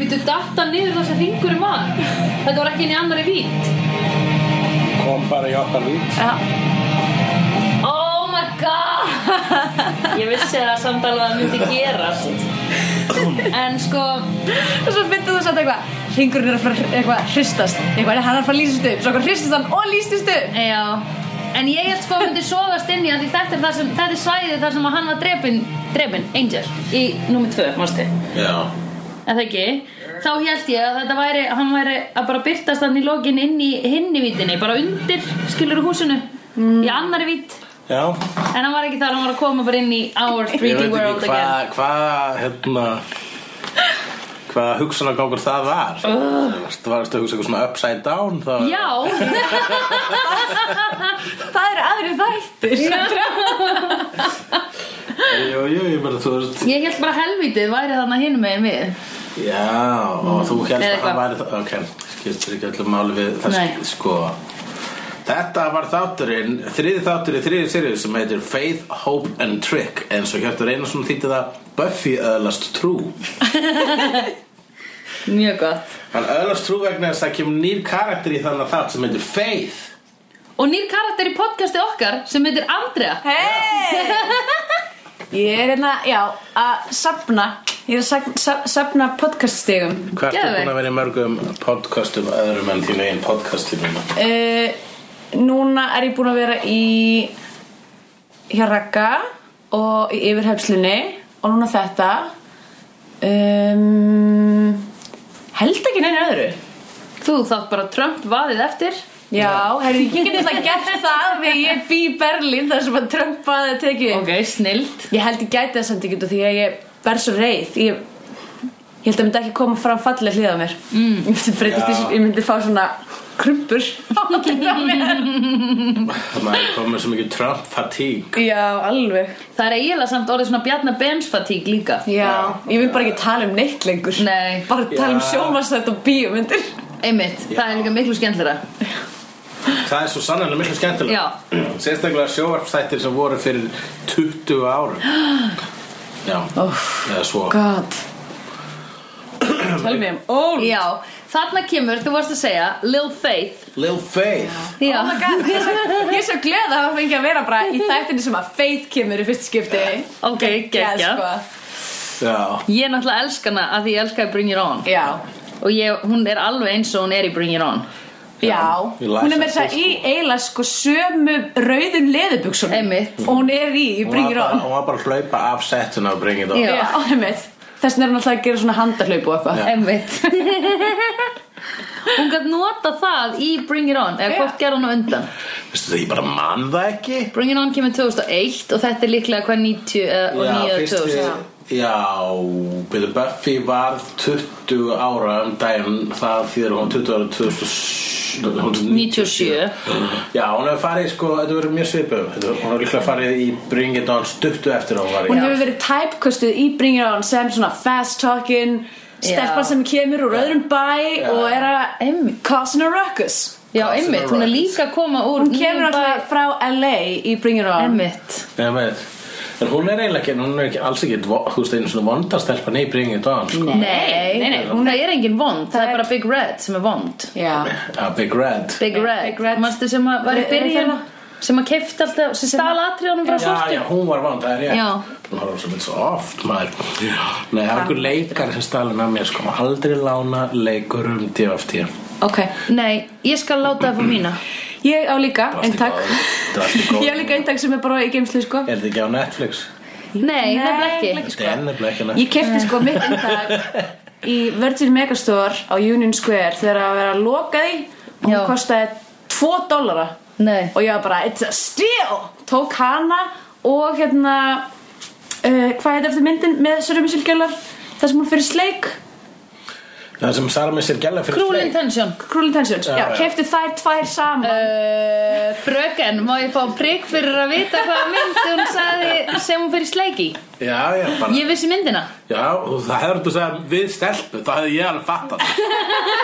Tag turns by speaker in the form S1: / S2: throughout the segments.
S1: býttu datta niður þar sem ringurinn var Þetta var ekki inn í annari vít
S2: Kom bara í okkar vít.
S3: Já,
S1: Oh my god Ég vissi að samt alveg að það myndi gerast En sko
S3: og svo finnst þú samt eitthvað Ringurinn er að fara að- eitthvað að hristast Eitthvað hann er að fara að lýsast upp Svo eitthvað hristist hann og lýstist upp
S1: Já En ég held sko að myndi sogast inn í hann Því þetta er, það sem, þetta er svæðið þar sem að hann var drepin Drepin, Angel Í númer 2, mástu
S4: Já,
S1: En það ekki Þá held ég að þetta væri Hann væri að bara byrtast hann í lokin inn í hinni vítinni Bara undir skilur húsinu Í annari vít
S2: Já.
S1: En hann var ekki þar, hann var að koma bara inn í Our
S4: ég
S1: 3D
S4: veit
S1: world
S4: ekki
S1: again
S4: hvað, hvað, hérna, hvað hugsunargangur það var. Uh. Varstu varstu að hugsa eitthvað svona upside down þá?
S1: Já,
S3: Það eru aðri þættir
S4: Jú, jú, ég bara, þú veist,
S1: Ég held bara helvítið væri þarna hinum megin við
S4: Já, og þú helst
S1: Mm. Eða
S4: að hann
S1: hvað?
S4: væri það Ok, skiptir ekki öllum máli við það
S1: Nei.
S4: sk- sko Þetta var þátturinn, þriði þáttur í þriði sérið sem heitir Faith, Hope and Trick eins og Hjörtur Einarsson þýtti það Buffy öðlast trú
S1: Mjög gott
S4: Hann öðlast trú vegna þess að það kemur nýr karakter í þannig þátt sem heitir Faith
S1: Og nýr karakter í podcasti okkar sem heitir Andrea
S3: Hei Ég er hérna, já, að safna Ég er að saf- saf- safna podcaststigum
S4: Hvað ertu
S1: Geðveikt.
S4: búin að vera í mörgum podcastum öðrum en þínu einn podcastum
S3: uh, Núna er ég búin að vera í hjá Ragga og í yfirhefslunni og núna þetta um, held ekki neina öðru
S1: Þú þátt bara Trump vaðið eftir
S3: Já, herri, ég geti alltaf gert það þegar ég bý í Berlín þar sem að Trump að tekið
S1: Ok, snilt
S3: Ég held ég gæti það samt ekki út af því að ég verð svo reið ég, ég held að myndi ekki koma fram falleg hlið á mér mm. ég, myndi breytast,
S4: Já.
S3: í- ég myndi fá svona krumpur á hlið á mér
S4: Þannig að komið svo mikið Trump fatigue
S3: Já, alveg
S1: Það er eiginlega samt orðið svona Bjarnar Bensfatík líka
S3: Já, ég vil bara ekki tala um neitt lengur
S1: Nei.
S3: Bara tala um
S4: Já.
S3: sjónvarsnætt og bíómyndir
S1: Einmitt, það er líka miklu skemmtlera
S4: Það er svo sannlega miklu skemmtilega Sérstaklega sjóvarpstættir sem voru fyrir 20 árum Já, eða svo
S3: God Tala mér um ól
S1: Já, þarna kemur, þú varst að segja Lil Faith
S4: Lil Faith
S1: Já,
S3: Oh my God, ég er svo- ég er svo gleð að hafa fengið að vera bara í þættinni sem að Faith kemur í fyrst skipti
S1: ok, geggja
S3: Já, sko.
S4: Já,
S1: Ég náttúrulega elska hana að því ég elskaði Bring It On
S3: Já,
S1: Og ég, hún er alveg eins og hún er í Bring It On
S3: já
S4: ég læs
S3: Hún er með
S4: það,
S3: það í eiginlega sko sömu rauðum leðubuksunum
S1: Einmitt.
S3: Og hún er í,
S4: hún
S3: ég
S4: var,
S3: bringir
S4: bara,
S3: on
S4: hún var bara að hlaupa af settuna og bringið það
S1: Já.
S3: Já, einmitt Þess vegna er hún alltaf að gera svona handahlaup og eitthvað
S1: Einmitt Hún gætt nota það í Bring It On Eða
S3: Já.
S1: hvort gerði hún á undan
S4: Veistu það, ég bara man það ekki
S1: Bring It On kemur 2001 og þetta er líklega hvað 90 eh, og 9 og 2000
S4: já Byrðu Buffy varð 20 ára um daginn það þýðir hún 20 ára
S1: 97.
S4: 2097 Já, hún hefur farið sko, þetta verður mjög svipum Þetta- Hún hefur líklega farið í Bring It On stuttu eftir að hún var í
S3: Hún hefur verið typecastuð í Bring It On sem svona fast talking stelpa
S1: Já.
S3: sem kemur úr öðrum bæ
S4: Já.
S3: og er að
S1: Einmitt.
S3: causin a ruckus
S1: Já, einmitt, hún er líka að koma úr
S3: Hún kemur alltaf frá LA í Bring It On
S1: Einmitt
S4: Já, veit. En hún er eiginlega ekki, hún er ekki, alls ekki, vo- þú veist, einu svona vondastelpa ney bringið dán, sko.
S1: Nei, nei, nei, hún er engin vond Það er bara Big Red sem er vond
S3: Já,
S4: A Big Red.
S1: Big Red,
S3: Big Red.
S1: Manstu sem að var í
S3: Re-
S1: byrjun
S3: Reyfela.
S1: Sem að keifta alltaf, sem stál atriðanum frá
S4: Já,
S1: sortu
S4: já, hún var vond, það er ég.
S1: Já.
S4: Hún var svo mynd svo oft, maður. Nei, það var einhver leikar sem stalin að mér, sko, aldrei lána leikur um DFT.
S3: ok
S1: Nei, ég skal láta það fór mína
S3: Ég á líka eintak
S4: Drasti góð.
S3: Ég á líka eintak sem er bara í geimslu sko
S4: Er þetta ekki á Netflix?
S1: Nei, nefnilega ekki
S4: Þetta er nefnilega ekki á Netflix.
S3: Ég kefti sko mitt eintak í Virgin Megastore á Union Square þegar að vera lokaði og hún
S1: Já.
S3: kostaði 2 dollara
S1: Nei.
S3: og ég var bara, it's a steal tók hana og hérna uh, hvað heit eftir myndin með Sörum Ísilgjölar það sem hún fyrir sleik
S4: Það sem Sara með sér gæla fyrir
S1: Cruel
S4: sleik.
S1: Intention
S3: Cruel Intentions,
S4: Já,
S3: já,
S4: já.
S3: kefti þær tvær saman
S1: Uh, fröken, má ég fá prigg fyrir að vita hvaða mynd hún sagði sem hún fyrir sleiki?
S4: Já, já, bara.
S1: Ég vissi myndina.
S4: Já, og það hefur þú segja við stelpu, það hefði ég alveg fattað.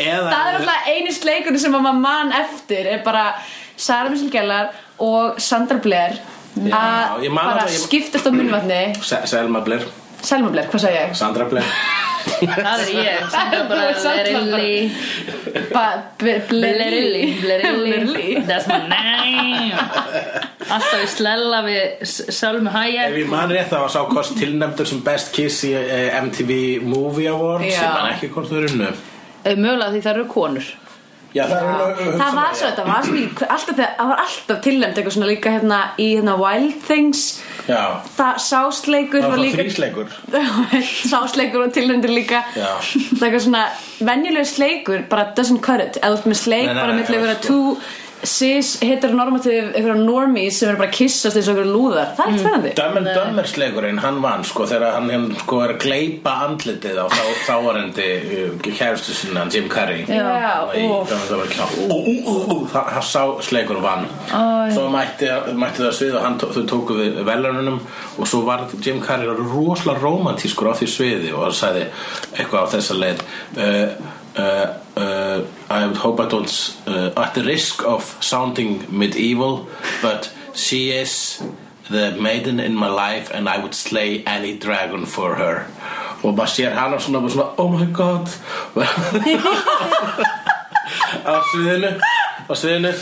S4: Eða-
S3: það er alltaf eini sleikunni sem að maður man eftir er bara Sörum Ísilgjölar og Sandra Blair
S4: Já,
S3: að
S4: ég man
S3: bara
S4: alltaf- ég-
S3: skiptast á munvatni
S4: Se- Selma Blair
S3: Selma Blair, hvað sagði ég?
S4: Sandra Blair
S1: Það er ég sem er bara
S3: Þú ert samt
S1: Lerilli
S3: Ba- ble-
S1: Lerilli
S3: Blerilli
S1: Lerilli That's my name Alltaf í slella við Sölmu
S4: Ef
S1: Hayek
S4: ég man rétt það var sá kost tilnæmdur sem Best Kiss í eh, MTV Movie Awards
S3: Já.
S4: Ég man ekki hvort þau runnu
S1: Eh, Mögulega því það eru konur
S4: Já, það er runnu
S3: Það var svo, þetta var svo mikið alltaf, þegar- Það var alltaf tilnæmt eitthvað svona líka hérna í hérna Wild Things
S4: Já,
S3: Það sásleikur
S4: það
S3: var
S4: var
S3: líka
S4: þrísleikur
S3: Sásleikur var tilnæmdur líka
S4: Já.
S3: Það er eitthvað svona venjulegur sleikur bara doesn't cut it Eða þú ert með sleik
S4: Nei, nei,
S3: bara
S4: nei,
S3: milli
S4: nei,
S3: einhverja
S4: sko.
S3: two cis heteronormative einhverja normies sem eru bara að kissast eins og einhverja lúðar Það er ekkert spennandi
S4: Dumb and Dumber sleikurinn, hann vann sko þegar hann, hann sko er að gleypa andlitið á þá, þáarendi uh, kærustu sinna, Jim Carrey
S3: Já,
S4: Og í
S3: úff.
S4: Dumb and Dumber klá ú, ú, ú, ú, það það sá sleikur vann
S1: Æ.
S4: Svo mætti, mætti það svið og hann, tó- þau tóku við velununum og svo var Jim Carrey rosalega romantískur á því sviði og hann sagði eitthvað á þessa leið uh, Uh, uh, I would hope I don't uh, at the risk of sounding medieval but she is the maiden in my life and I would slay any dragon for her og maður sér hana svona, bara svona oh my god á sviðinu á sviðinu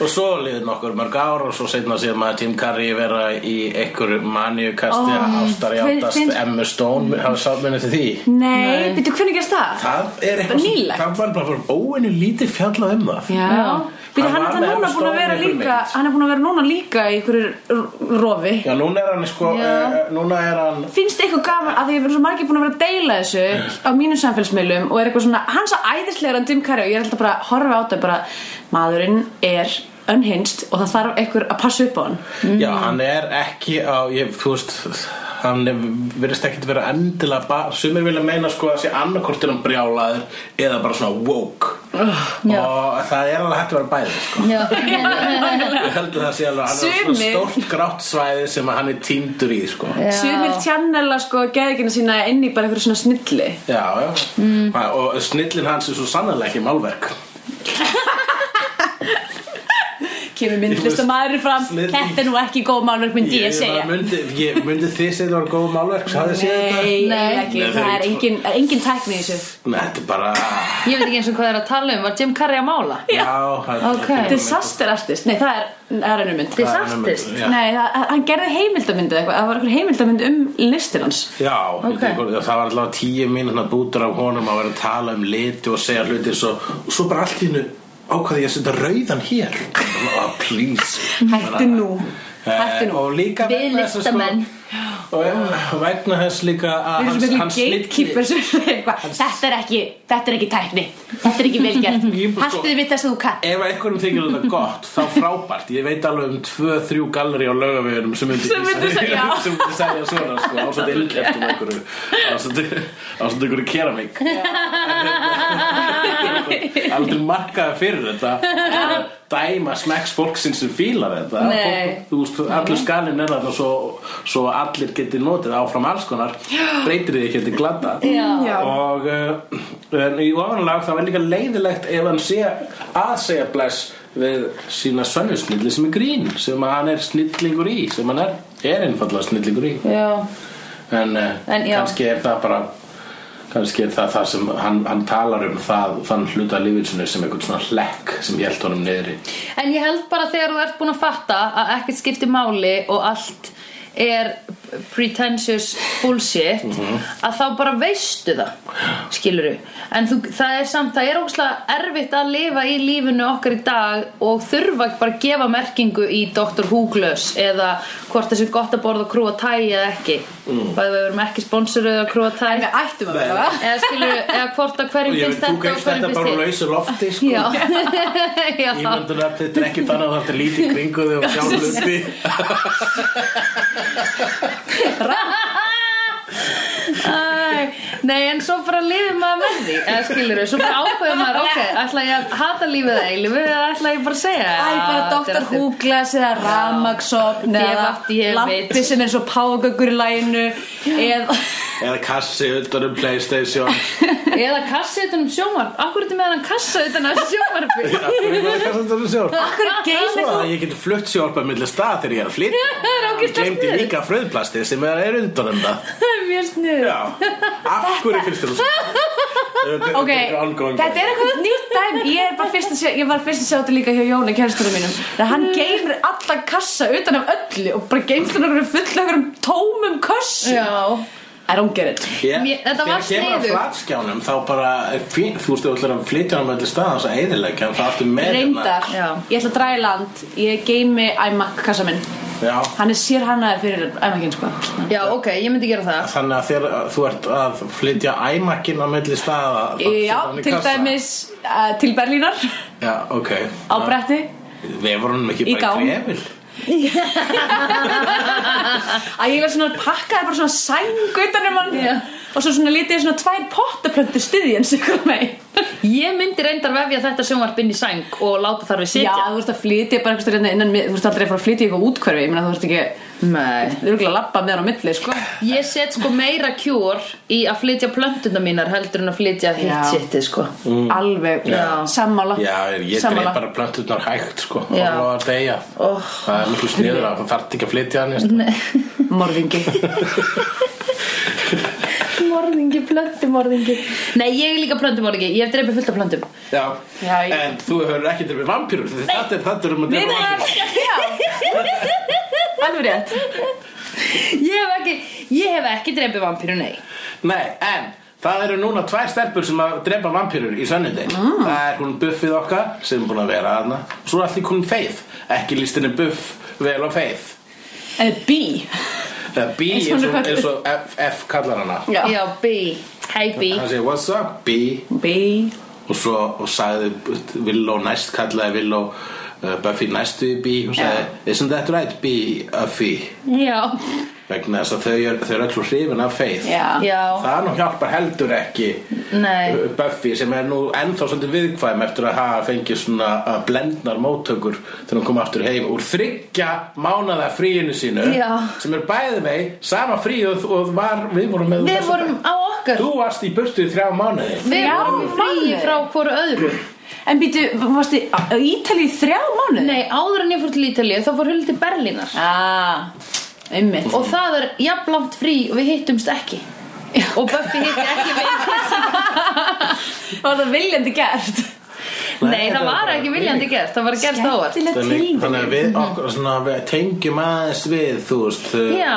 S4: og svo liðið nokkur mörg ár og svo setna sér maður Tim Curry vera í einhverju maníukasti
S3: Ó,
S4: oh, ástar í
S3: hver-
S4: átast
S3: finn-
S4: Emma Stone hafa sátt minni til því
S3: Nei, byrju, hvernig gerst það?
S4: það er eitthvað sem-
S3: nýlegt.
S4: það var bara fyrir óinu um lítið fjallað um það
S3: Já, Býtu,
S4: Hann
S3: hann,
S4: var
S3: hann,
S4: með
S3: núna
S4: Emma
S3: búin að
S4: Stone
S3: vera
S4: í einhverri
S3: líka
S4: mynd.
S3: Hann er búin að vera núna líka í einhverju rofi
S4: Já, núna er hann sko, uh, núna er hann
S3: Finnst eitthvað gaman að því að vera svo margir búin að vera að deila þessu á mínum samfélsmiðlum og er eitthvað svona, hann er svo æðislegur en Jim Carrey og ég er alltaf bara að horfa á þetta bara maðurinn er unhinged og það þarf einhver að passa upp á hann
S4: Já, hann er ekki á, ég, þú veist, hann er- virðist ekkert vera endilega bara, sumir vilja meina sko að sé annarkort er hann brjálaður eða bara svona woke
S1: já.
S4: og það er alveg hægt að vera bæði sko.
S1: Já
S4: Ég heldur það sé alveg, hann er svona
S3: Sumir-
S4: stórt grátt svæði sem að hann er týndur í sko. Já,
S3: Sumir tjannela sko geðikina sína inn í bara einhverju svona snilli
S4: já, mm. og snillin hans er svo sannlega ekki málverk
S3: Kemur myndlistamæðurinn fram,
S4: Snilli.
S3: þetta er nú ekki góð málverk myndi ég segja
S4: bara myndi, ég, myndi þið segja það var góð málverk, hafið þið séð þetta?
S3: Nei,
S1: Nei.
S3: ekki,
S4: Nei,
S3: það
S4: þeir-
S3: er engin, er engin tækni í þessu
S4: Nei, þetta er bara,
S1: Ég veit ekki eins og hvað það er að tala um Var Jim Carrey að mála?
S4: já, það
S1: Ok.
S3: Disaster artist, nei það er, það er önnur mynd
S1: Dis-
S4: það er önnur mynd,
S1: Disastist.
S4: já.
S3: Nei, það, hann gerði heimildamyndið eitthvað Það var einhver heimildamynd um listin hans
S4: Já,
S1: Ok.
S4: okay. það var allavega tíu mínúna bútur af honum að vera að tala um liti og segja hluti svo, og svo bara allt í hennu ákvaði ég að setja rauðan hér oh, please
S3: Hættu nú Hættu
S4: Eh,
S3: nú
S4: og líka
S1: Við
S4: vegna þess að sko-
S1: listamenn.
S4: og eh, vegna þess líka að
S3: Við erum svo miklu
S4: snilli-
S3: gatekeeper sem- eitthvað, Þetta er ekki, þetta er ekki tækni Þetta er ekki velgjart
S4: Ég bara sko-
S3: Hættu þið við þess að þú kann
S4: ef einhverjum þykir þetta gott þá frábært, ég veit alveg um 2-3 galleri á laugavegurum sem myndi
S3: Sem myndi segja, já.
S4: sem myndi segja svona sko, ásvöld ilgjartum einhverju ásvöld einhverju keramík aldrei markaði fyrir þetta að dæma smekks fólksins sem fílar þetta
S1: Nei.
S4: Fólk, þú veist, allur skalinn er þetta svo, svo allir geti notið áfram alls konar breytir því ekki til gladda
S1: Já.
S4: og uh, en í ofanlag það var líka leiðilegt ef hann sé að segja bless við sína sönnusnilli sem er grín sem að hann er snillingur í sem hann er, er einfallega snillingur í
S1: Já
S4: en,
S1: En
S4: en
S1: já.
S4: kannski er það bara kannski er það það sem hann, hann talar um það, þann hluta lífinsinu sem einhvern svona hlekk sem hjælt honum niðri
S1: En ég held bara þegar þú ert búin að fatta að ekkert skiptir máli og allt er pretentious bullshit að þá bara veistu það skiluru en þú, það er samt, það er ógslag erfitt að lifa í lífinu okkar í dag og þurfa ekki bara að gefa merkingu í Dr. Hooglös eða hvort þessi gott að borða krúa tæ eða ekki mm. bæði við erum ekki sponsoruð að krúa tæ
S3: Við ættum að vera
S1: eða skiluru, eða hvort að hverjum
S4: og ég
S1: finnst
S4: veit, þú
S1: þetta og
S4: gæst
S1: hverjum
S4: þetta bara
S1: finnst
S4: lausur lofti sko.
S1: Já, já.
S4: Ímyndun að þetta er ekki þannig að þetta er lítið kringu þig og sjá hluti
S1: Æ, Nei, en svo bara lifið maður með því eða skilur svo bara ákveður maður ok, ætla ég að hata lífið eða eilifu eða ætla ég bara að segja
S3: Æ, bara Dr. Húglas eða Ramagsopn eða
S1: DFD,
S3: Lappi
S1: veit.
S3: sem er svo páfagöggur í læginu eða
S4: eða kassi utan um Playstation
S1: eða kassi utan um sjónvarp akkur er þetta með hann kassa utan af sjónvarpi
S4: um Akkur
S3: Akkur er geimir
S4: Svo að ég geti flutt sjálpa millir stað þegar ég er að flytja
S1: það er
S4: Ég
S1: ógeðslega
S4: glemdi
S1: sniðugt.
S4: líka fröðplastið sem er er undan um það
S1: það er mjög sniður
S4: Já, af af hverju finnst þér það
S3: Ok, þetta er eitthvað nýtt dæmi Ég er bara fyrst að sjá, ég var fyrst að sjá þetta líka hjá Jóni kæristunum mínum Þegar hann geymir alla kassa utan af öllu og bara geymst hann okkur fulla okkur tómum kössu
S1: Já.
S3: I don't get it
S1: Mér- þetta var
S4: Þegar kemur
S1: sniðugt.
S4: að flatskjánum þá bara er fín, þú veist, þú ætlar að flytja hann með allir staðans að eðilegja hann það aftur með hérna.
S3: Reyndar,
S1: Já.
S3: ég ætla að draga í land Ég geymi iMac kassa minn
S4: Já,
S3: Hann er sér hannaður fyrir iMacin sko
S1: Já, ok, ég myndi gera það
S4: þannig að þegar þú ert að flytja æmakkin á milli staða þá
S3: Já,
S4: setur hann í
S3: til
S4: kassa.
S3: dæmis uh, til Berlínar á
S4: Já, ok Já.
S3: bretti
S4: Vefur honum ekki
S3: Í
S4: bara
S3: gám.
S4: í krefil
S3: að ég var svona pakkaði bara svona sæng utan um hann og svo svona lítið svona tvær pottaplöntu styðjens ykkur megin
S1: Ég myndi reyndar vefja þetta sjónvarp inn í sæng og láta þar við
S3: Já,
S1: sitja
S3: þú ert að flytja bara einhverstað hérna innan mið- þú ert aldrei að fara að flytja í eitthvað útkverfi ég meina þú ert ekki
S1: Nei
S3: þú ert ekki að labba með hann á milli sko
S1: Ég set sko meira kjór í að flytja plöntuna mínar heldur en að flytja hitt
S3: Já.
S1: sittið sko
S3: alveg
S1: Já.
S3: sammála
S4: Mm. Já, ég dreif
S3: sammála.
S4: bara plönturnar hægt sko og
S1: Já.
S4: lofa að deyja
S1: Oh.
S4: Það er miklu sniður að það þarf ekki að flytja hann í
S3: morðingi
S1: Morðingi, plöntumorðingi Nei, ég er líka plöntumorðingi, ég hef dreipið fullt af plöntum
S4: Já,
S3: Já, ég-
S4: en þú hefur ekki drifið vampýrur Þetta er þetta er um að
S3: Nei,
S4: drifa
S3: nei,
S4: vampýrur
S3: já. alveg rétt
S1: Ég hef ekki, ég hef ekki dreipið vampíru, nei
S4: Nei, en það eru núna tvær stelpur sem að drepa vampýrur í sönnudein
S3: Ah.
S4: Það er hún buffið okkar sem er búin að vera þarna Svo er allir hún feið Ekki líst henni buff vel og feið
S3: en bí
S4: Eða B
S3: Eins og
S4: eins
S3: hún er
S4: og,
S3: kölluð.
S4: eins og F, F kallar hana
S3: Já.
S1: Já, B, hey B
S4: Hann segir what's up B
S3: bí
S4: Og svo og sagði Villó næst kallaði Villó uh, Buffy næstu í B og sagði Isn't that right B Buffy
S1: Já,
S4: Vegna þess að þau, eru- þau eru öll svo hrifin af feið
S3: já.
S1: já,
S4: Það nú hjálpar heldur ekki uh,
S1: Nei.
S4: Buffy sem er nú ennþá svolítið viðkvæm eftir að hafa fengið svona uh, blendnar móttökur þegar hún kom aftur heim úr þryggja mánaða fríinu sínu
S1: Já.
S4: sem er bæði vei sama fríuð og var, við vorum með
S1: við
S4: þessa
S1: vorum
S4: dag.
S1: á okkar
S4: Þú varst í burtu í þrjá mánuði
S1: Við
S3: Já,
S1: vorum í fríi
S3: mánuði.
S1: frá hvoru öðru
S3: en býtu, varstu á á Ítalíu í þrjá mánuð?
S1: Nei, áður en ég fór til Ítalíu þá fór Hulli til Berlínar
S3: Ah, einmitt
S1: Og það er jafnlangt frí og við hittumst ekki Og Buffy hitti ekki við
S3: Var það viljandi gert?
S1: Nei, það var ekki viljandi gert, það var gert ávart
S4: Þannig, þannig að
S1: Mhm.
S4: við, okkur, svona, við tengjum aðeins við, þú veist uh,
S1: Já,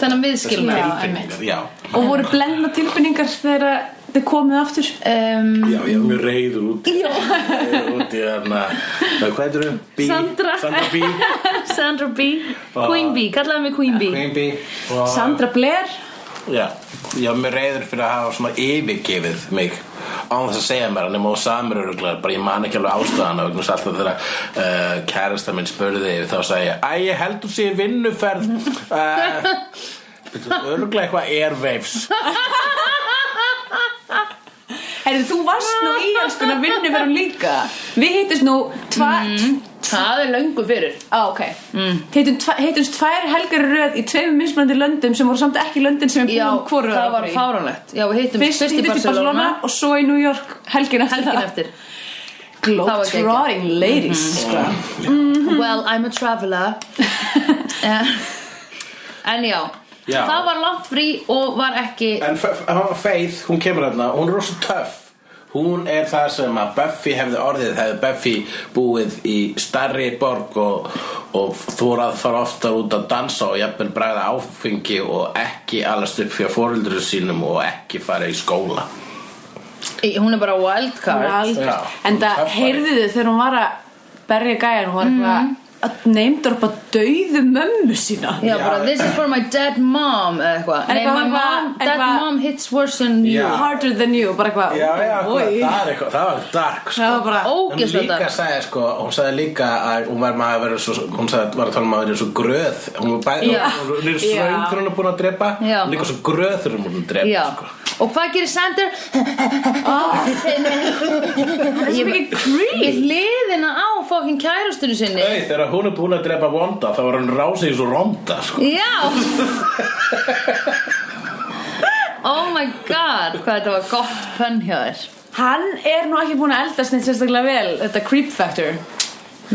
S1: þannig að við skilum
S4: svona
S3: Já,
S4: tilfinningar, Já,
S3: Og voru blendna tilfinningar þegar þið komið aftur
S1: um,
S4: já, ég er mjög reyður út Reyður út í þarna Eh, Hvað heitir þau? Bí
S1: Sandra.
S4: Sandra Bí
S1: Um, Sandra B, Queen B, kallaði mig Queen B
S4: Queen Bí og,
S3: Sandra Blair
S4: Já, ég er mjög reyður fyrir að hafa svona yfirgefið mig án þess að segja mér hann er móð samur öruglega bara ég man ekki alveg ástæðan og þess alltaf þegar uh, kærasta minn spurði yfir þá sagði ég, æ, ég heldur sé í vinnuferð uh, öruglega eitthvað airwaves
S3: Herri, þú varst nú í alls konar vinnu verum líka Við hittist nú tva...
S1: Mm. Það er löngu fyrir
S3: Á, ok
S1: Mm.
S3: Hittum tva- Hittumst tvær helgar í röð í tveimum mismunandi löndum sem voru samt ekki löndin sem við
S1: Já,
S3: búum hvoru
S1: það var fáránlegt Já, við hittum
S3: Fyrst hittum í Barcelona og svo í New York helgin eftir
S1: Helgin
S3: það
S1: eftir
S3: Globetrotting ladies
S1: Mm-hmm.
S3: sko.
S1: Well, I'm a traveler Eh, En já,
S4: Já.
S1: það var langt frí og var ekki
S4: En F- F- Faith, hún kemur hérna Hún er rosa töff Hún er það sem að Buffy hefði orðið hefði Buffy búið í starri borg og, og þórað fara oftar út að dansa og jafnvel bræða áfengi og ekki alast upp fyrir fóreldur sínum og ekki fara í skóla
S1: Í- Hún er bara wildcard
S4: Já.
S3: En það
S4: Töffari.
S3: heyrðu þið þegar hún var að berja gæjan Hún var
S1: Mm-hmm.
S3: eitthvað að neymdorpa dauðu mömmu sína
S1: Já, bara this is for my dead mom eða eitthvað Nei,
S3: Eitthvað,
S1: my mom,
S3: eitthvað,
S1: dead
S3: eitthvað.
S1: mom hits worse than you
S4: Já.
S3: Harder than you, bara eitthvað
S4: hvað,
S3: oj.
S4: það, er eitthvað, það var dark sko.
S3: Það var bara
S1: Ó.
S4: Hún
S1: Ógeðslega
S4: líka
S1: dark.
S4: sagði sko, hún sagði líka að hún var maður að vera svo, hún sagði var að tala um að vera svo gröð hún var bæði,
S1: Já.
S4: hún hún er svöng
S3: Já.
S4: þegar hún er búin að drepa
S1: Já.
S4: hún er líka svo gröð þegar hún er búin að drepa
S1: Já.
S4: sko. Ah.
S1: Og hvað gerir Sander?
S3: Það er svo mikið creep
S1: Ég hliðina á fókin kærastunni sinni
S4: Nei, þegar hún er búin að drepa Wanda þá var hann rásið í svo Ronda sko.
S1: Já Oh my god Hvað þetta var gott pönn hjá þér
S3: Hann er nú ekki búin að eldast neitt sérstaklega vel Þetta creep factor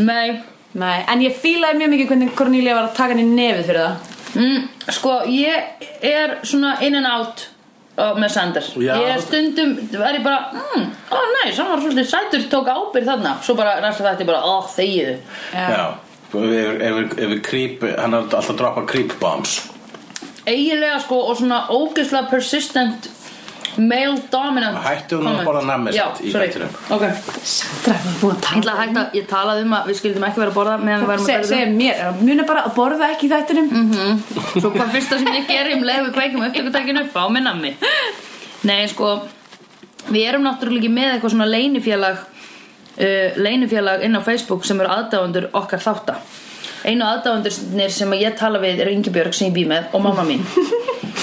S1: Nei
S3: Nei, en ég fílaði mjög mikið hvernig Cornelia var að taka hann í nefið fyrir það
S1: mm, Sko ég er svona in and out uh, og með Sander
S4: Já.
S1: ég er stundum, er ég bara mm, ó næs, hann var svolítið sætur tók ábyrð þarna, svo bara næsta þetta bara, ó þegiðu
S4: Já, Sko, ef við- ef við- ef við creep hann er alltaf að droppa creep bombs
S1: eiginlega sko og svona ógeðslega persistent male dominant
S4: Hættu nú að
S1: comment.
S4: borða nammi
S1: Já,
S4: samt í
S1: sorry.
S4: þættinum.
S1: ok
S3: Sandra, við erum búin að
S1: Ég
S3: tala
S1: ætla að hætta, ég talaði um að við skildum ekki vera að borða meðan við værum að
S3: Se,
S1: berða
S3: segja mér, er það muna bara að borða ekki í þættinum
S1: Svo hvað fyrsta sem ég gerir um leið við kveikjum upptökutækinu Fá mér nammi Nei, sko Við erum náttúrulega ekki með eitthvað svona leinifélag uh, Leinifélag inn á Facebook sem eru aðdáðundur okkar þátta Einu aðdáðundurnir sem ég tala við er Ingibjörg sem ég bý með og mamma mín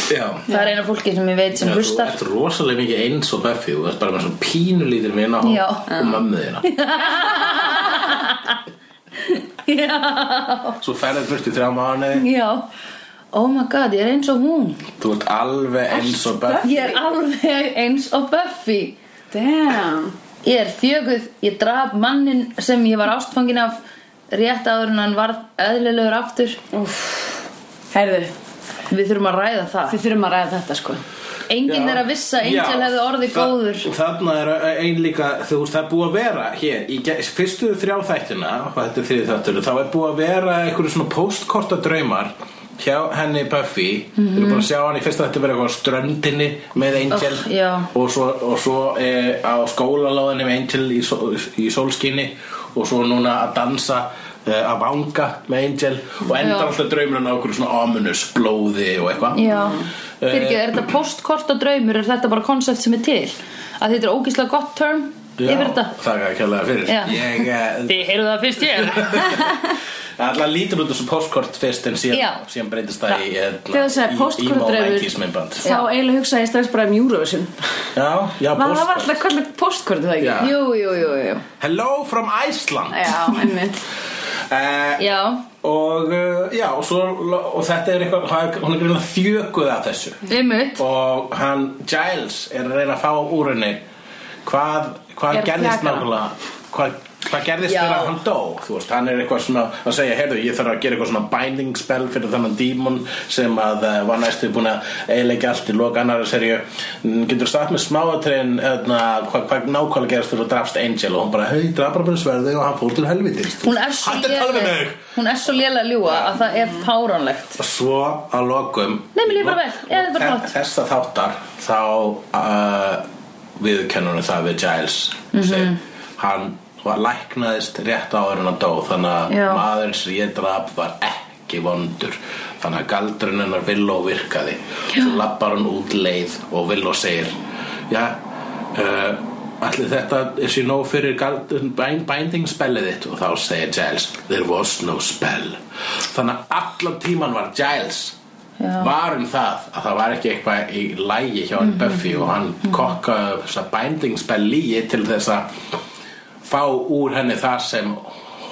S4: Já
S1: Það er eina fólki sem ég veit sem
S4: Já, þú
S1: hlustar
S4: ert rosalega mikið eins og Buffy þú ert bara með svona pínulítir vina og,
S1: Já.
S4: og mömmu þína
S1: Já,
S4: svo ferðið burt í þrjá mánuði
S1: já Oh my god, ég er eins og hún
S4: þú ert alveg eins og Buffy
S1: Ég er alveg eins og Buffy
S3: Damn
S1: Ég er þjöguð, ég draf mannin sem ég var ástfangin af rétt áður en hann varð eðlilegur aftur.
S3: Herðu,
S1: Við þurfum að ræða það.
S3: við þurfum að ræða þetta sko
S1: Enginn er að vissa, Angel
S4: Já,
S1: hefði orðið
S4: það-
S1: góður.
S4: Þarna er eh, ein líka, þú veist, það er búið að vera hér, í ge- fyrstu þrjá þættina og þetta er þriði þáttur, þá er búið að vera einhverju svona postkorta draumar hjá henni Buffy mm -hmm. eru bara að sjá hann í fyrsta þetta vera eitthvað á ströndinni með Angel
S1: Oh, já.
S4: og svo, og svo e, á skólaláðinni með Angel í, sól, í sólskinni og svo núna að dansa e, að vanga með Angel og endar
S1: Já.
S4: alltaf draumurinn á einhverju svona ominous blóði og eitthvað
S1: Já.
S4: Eh,
S1: Fyrir er þetta postkorta draumur, er þetta bara konsept sem er til? Að þetta er ógíslega gott term
S4: Já,
S1: yfir þetta?
S4: Þakka kjærlega fyrir
S1: Já.
S4: Ég eh,
S1: Þið heyrðu það fyrst ég.
S4: allar lítur út þessu postkort fyrst en
S1: Já.
S4: síðan, síðan breytist það í
S3: Þegar þú segir
S4: Ímó
S3: póstkortdreifur-
S4: vækisminnband
S3: Þá eiginlega hugsaði ég strax bara um Eurovision
S4: Já, já,
S3: Var það var
S4: postkort
S3: alltaf kallið postkort það ekki?
S4: Já.
S1: jú, jú, jú, jú.
S4: Hello from Iceland
S3: Já, einmitt
S4: Eh,
S1: Já.
S4: Og eh, já, og, svo, og þetta er eitthvað hann- Hún er grunna þjökuð af þessu
S1: Einmitt.
S4: Og hann Giles er að reyna að fá úr henni Hvað, hvað
S3: Er
S4: gerðist
S3: flakara.
S4: nákvæmlega Hvað, hvað gerðist
S1: Já.
S4: þegar hann dó Þú veist, hann er eitthvað svona að segja Heyrðu, ég þarf að gera eitthvað svona binding spell Fyrir þannan dímon sem að uh, var næstu búin að eiginlega allt í lok annara serju Getur stað með smáatriðin eðna, hvað, hvað nákvæmlega gerðist þegar þú drafst Angel Og hún bara, hei, draf bara bara sverði Og hann fór til helvitist
S1: Hún er svo
S4: Hættu að tala við
S1: léleg-
S4: mig
S1: hún er svo lélega að ljúa að það er fáránlegt.
S4: Og svo að lokum
S1: Nei, mér líður bara vel. Ég er bara
S4: Þe-
S1: flott.
S4: Þessa þáttar þá uh, viðkennunum það við Giles
S1: Mhm.
S4: mm -hmm. hann var læknaðist rétt áður en að dó þannig að
S1: Já.
S4: maður sem ég draf var ekki vondur þannig að galdurinn hennar Villó virkaði svo lappar hann út leið og Villó segir já, uh, allir þetta er sér nóg fyrir gald- bæn- binding spellið þitt og þá segir Giles there was no spell þannig að allan tíman var Giles
S1: Já.
S4: var um það að það var ekki eitthvað í lægi hjá hann Buffy og hann kokkaði upp þessa binding spell lígi til þess að fá úr henni það sem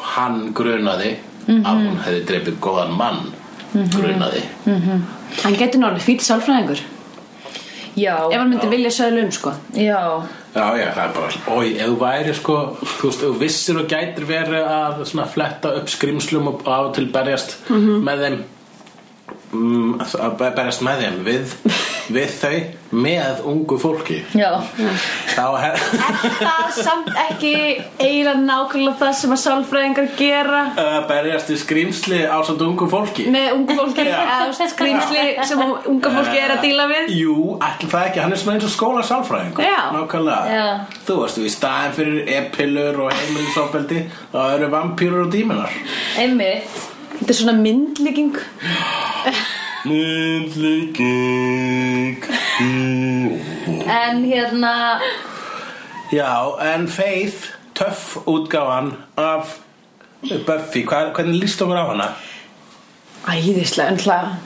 S4: hann grunaði að hún hefði dreipið góðan mann grunaði
S3: Hann getur náttúrulega fýtt sálfræðingur Ef
S1: Já,
S3: hann myndi vilja söðla um sko
S1: já.
S4: Já, já, það er bara Ói, ef þú væri sko, þú veist, ef þú vissir og gætir verið að svona fletta upp skrimslum og á og til berjast með þeim mm, að be- berjast með þeim við, við þau með ungu fólki
S1: Já,
S4: þá hef
S3: Það samt ekki eiginlega nákvæmlega það sem að sálfræðingar gera
S4: að berjast í skrimsli á samt ungu fólki
S3: með ungu fólki
S4: Já.
S3: eða þú veist, skrýmsli sem unga fólki er að díla við
S4: Jú, allir það ekki, hann er svona eins og skóla sálfræðing
S3: Já.
S4: Nákvæmlega
S1: Já.
S4: Þú veist, í staðin fyrir e-pillur og heimilisofbeldi þá eru vampýrur og díminar
S1: einmitt
S3: Þetta er svona myndlíking
S4: Myndlíking
S1: En hérna,
S4: Já, en Faith, töff útgáfan af Buffy, hvað, hvernig líst okkur á hana?
S3: Æðislega, en hlað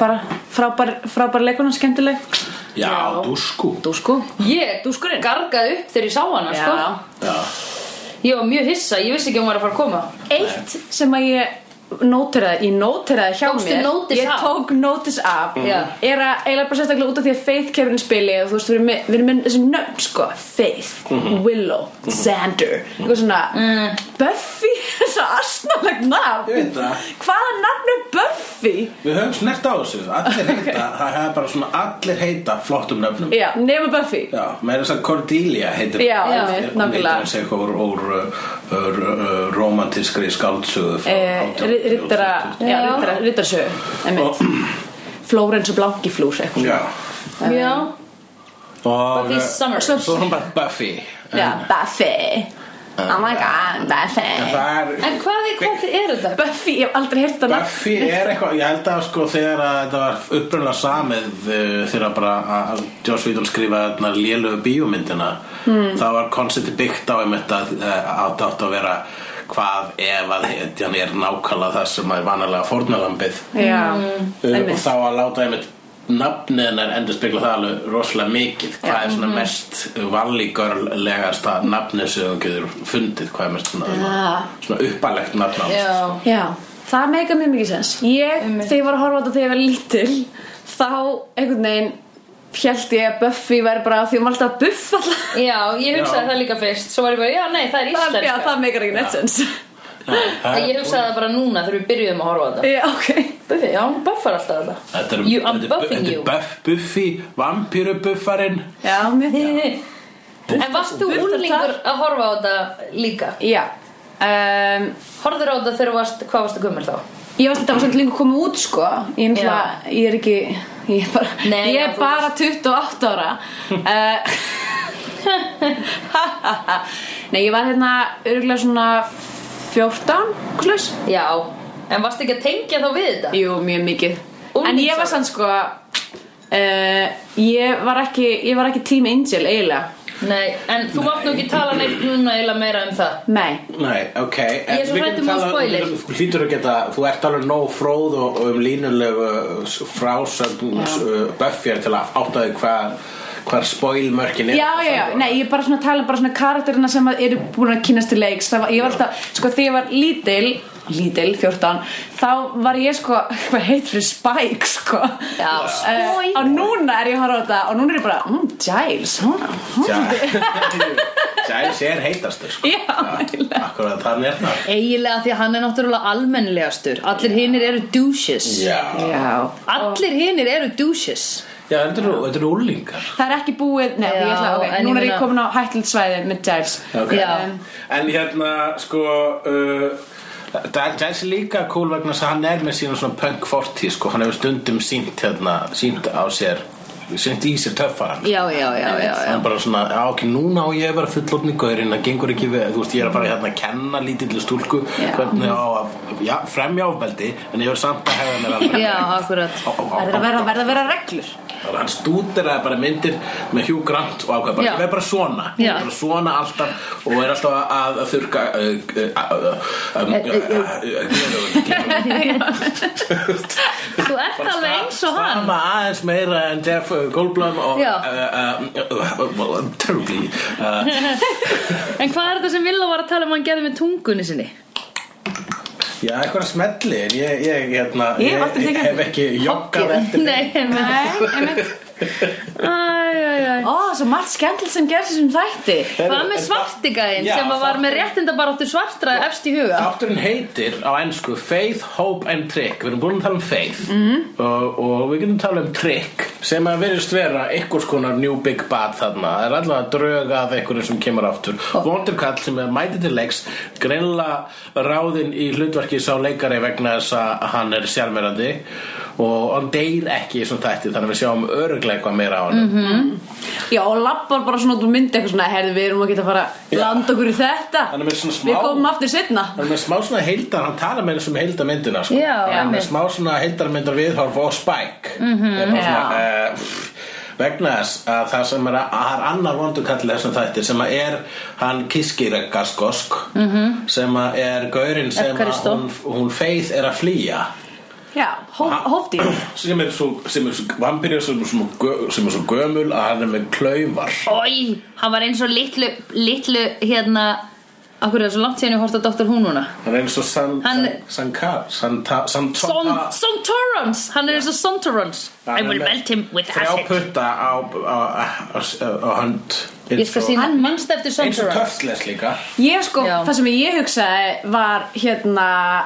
S3: bara frábær, frábær leikuna, skemmtileg sko.
S4: Já, dúsku
S3: Dúsku
S1: ég
S3: Dúskurinn.
S1: gargaði upp þegar ég sá hana
S3: Já.
S1: sko.
S4: Já,
S1: Ég var mjög hissa, ég vissi ekki að hún var að fara að koma
S3: Eitt sem að ég nóteraði, ég nóteraði hjá
S1: Tókstu
S3: mér
S1: notice
S3: Ég
S1: af?
S3: tók notice af
S1: Já.
S3: Er að eiginlega bara sérstaklega út af því að Faith kefurinn spili og þú veist, við erum með, við erum með þessi Mhm. nöfn sko Faith, Willow, Xander eitthvað svona Buffy þessa astnalegt nafn
S4: Ég veit það.
S3: Hvaða nafn er Buffy?
S4: Við höfum snert á þessu Allir heita, það hefur bara svona allir heita flottum nöfnum
S3: Já, nema Buffy
S4: Já, með þess að Cordelia heitir
S3: Já,
S1: Já,
S3: einmitt,
S4: Hún heitir
S3: nákvæmlega.
S4: hans eitthvað úr, úr, úr, úr romantískri skáldsöðu frá
S3: Eh,
S4: 18.
S3: ri- Riddara Já,
S1: Já.
S3: riddara- riddarasögu einmitt. Flórens og Blankiflús eitthvað.
S4: Já
S1: Já,
S4: Og
S1: Buffy
S4: eh,
S1: Summers
S4: Svo er hún bara Buffy
S3: Já, Buffy Oh my god,
S4: En
S3: Buffy
S4: það er
S1: En hvað er, hvað er þetta?
S3: Buffy, ég hef aldrei heyrt það
S4: Buffy er eitthvað, ég held að sko þegar að þetta var upprunlega samið eh, þegar bara að Joss Whedon skrifaði þarna lélögu bíómyndina
S3: Hmm.
S4: mm. þá var koncepti byggt á einmitt að átt átt að vera hvað ef að hetjan er nákvæmlega það sem er vanalega fórnalambið
S3: Já,
S4: Uh, og
S3: einmitt
S4: þá að láta einmitt nafnið hennar endur spegla það alveg rosalega mikið hvað er
S1: mhm.
S4: svona mest vallíkörlegasta nafnið sem þú getur fundið hvað er mest svona,
S3: Já.
S4: svona uppalegt nafn á
S1: Já,
S3: Já, það meika mjög mikið sens Ég,
S1: Einmitt.
S3: þegar ég var að horfa á þetta þegar ég var lítil þá einhvern veginn held ég að Buffy væri bara því hún var alltaf að buffa alltaf
S1: já ég hugsaði
S4: Já.
S1: það líka fyrst Svo var ég bara, já, nei, það er
S3: Það, já,
S1: íslenska
S3: það meikar ekki neitt sens
S1: En Ég hugsaði það bara núna þegar við byrjuðum að horfa á þetta
S3: Já, ok
S1: Buffy, já, hún buffar alltaf þetta
S4: Þetta er,
S1: you, I'm
S4: þetta er-
S1: buffing
S4: þetta er
S1: you
S4: buff, Buffy, vampírubuffarinn
S3: Já, mér
S1: En varst þú
S3: Buffar
S1: úlingur
S3: þar.
S1: að horfa á þetta líka?
S3: Já um,
S1: Horður á þetta þegar þú varst, hvað varstu gömul þá?
S3: Ég var þetta var svolítið lengur komið út sko Ég, náttúrulega- ég er ekki Ég er bara,
S1: Nei,
S3: ég
S1: já,
S3: er
S1: þú
S3: bara 28 ára uh, Nei, ég var hérna örgulega svona 14 Kulis
S1: Já, en varstu ekki að tengja þá við þetta?
S3: Jú, mjög mikið En ég var
S1: Unglingsárum.
S3: sann sko uh, ég, var ekki, ég var ekki Team Angel eiginlega
S1: Nei, en þú mátt nú ekki tala neitt núna eila meira um það
S3: Nei
S4: Nei, ok
S1: Ég er svo hrædd um að spoiler.
S4: Þú hlýtur að geta, þú ert alveg nóg fróð og, og um línulegu uh, frásögn uh, Buffyar til að áttaði hvað hvar spoilmörkin er
S3: Já, já, já, nei, ég er bara svona að tala um bara svona karakterina sem að eru búin að kynast til leiks það var, ég var alltaf, sko þegar ég var lítil lítil, 14, þá var ég sko, hvað heit fyrir Spike sko,
S1: Já,
S3: Eh,
S1: Spike.
S3: og núna er ég að horfa á þetta og núna er ég bara, mm, Giles hún, hún.
S4: Giles er heitastur sko.
S3: Já, eiginlega.
S4: Akkurat þannig er það
S1: Eiginlega því að hann er náttúrulega almennlegastur Allir hinnir eru douches
S4: Já,
S3: Já.
S1: Allir hinnir eru douches
S4: já þetta eru- þetta eru úlingar
S3: það er ekki búið, nei,
S1: Já,
S3: ég ætla, ok,
S1: en ég
S3: núna er ég
S1: meina-
S3: komin á hættilegt svæði með Giles
S4: okay.
S1: Já.
S4: En hérna sko uh, það- Giles er líka cool vegna þess að hann er með sína svona punk fortíð sko, hann hefur stundum sínt hérna, sínt á sér sínt í sér töffaran
S1: Já, já, já, já, já.
S4: hann bara svona, já ok, núna á ég að vera fullotni gaurinn, það gengur ekki við, þú veist, ég er að fara hérna að kenna lítillu stúlku
S3: Já.
S4: hvernig á að, já, fremja ofbeldi en ég er samt að hefða mér alveg
S1: Já, akkurat
S4: Ó, ó, ó,
S3: það er að vera, verða að vera reglur
S4: Og hann stúderaði bara myndir með Hugh Grant og ákveð bara,
S1: Já.
S4: ég verð bara svona
S1: Já.
S4: Ég verð bara svona alltaf og er alltaf að, eh, að þurka eh,
S1: Þú ert alveg eins og hann
S4: Stama aðeins meira en Jeff uh, Goldblum og
S1: Já.
S4: uh, uh, uh, well, I'm terribly uh,
S1: En hvað er þetta sem Villa var að tala um að hann gerði með tungunni sinni?
S4: Já, eitthvað smelli en ég, ég, hérna,
S3: Ég hef aldrei tekið
S4: hef ekki joggað eftir
S1: Nei, menn
S3: Nei, einmitt
S1: Æj, æj, æj
S3: Ó, svo margt skemmtilegt sem gerðs þessum þætti
S1: Hvað með svartigæðin
S4: Já,
S1: sem að var
S4: þátturinn-
S1: með réttindabaráttu svartra efst í huga?
S4: Þátturinn heitir á ennsku Faith, Hope and Trick Við erum búin að tala um faith -hmm. og, og við getum tala um trick sem að verðist vera einhvers konar new big bad þarna Það er allavega drög að einhverju sem kemur aftur Vondur kall sem er mætið til leiks greinlega ráðinn í hlutverki sá leikari vegna þess að hann er sjálfverandi og hann deyr ekki í svona þætti þannig að við sjáum öruglega eitthvað meira á hann
S3: Já, og lappar bara svona út úr myndi eitthvað svona Herði, við erum að geta að fara
S4: Já.
S3: að landa okkur í þetta
S4: Hann er með svona smá-
S3: Við komum aftur setna
S4: Hann er með smá svona heildar, hann talar með þessum heildarmyndina sko.
S1: Já,
S4: hann er með
S1: einmitt. Mhm,
S4: smá svona heildarmyndar viðhorf og spæk mm -hmm, svona, uh, vegna þess að það sem er, að, það er annar vondukall í þessum þætti sem að er hann kiskiregaskosk mm
S1: Mhm.
S4: -hmm. sem að er gaurinn sem að
S1: Evkaristo.
S4: hún, hún feið er að flýja
S3: Já, hó,
S4: Ha-
S3: hófdýr
S4: sem er svo, sem er svo vampirja sem, er svo gö- sem er svo gömul að hann er með klaufar
S1: Ói, hann var eins og litlu, litlu hérna Akkur er það svo langt síðan ég horfði á Dr. Who núna
S4: hann er eins og san,
S1: Hann-
S4: san, san, san, san, san,
S1: Son, Sontorans, hann er eins og Sontorans I will melt him with
S4: Þrjá
S1: acid
S4: putta á, á, á, á, á hönd
S1: Ég skal sína, mannst eftir
S4: sko. eins og
S1: Sunrise
S4: Turtles líka
S3: Ég sko,
S1: Já.
S3: það sem ég hugsaði var hérna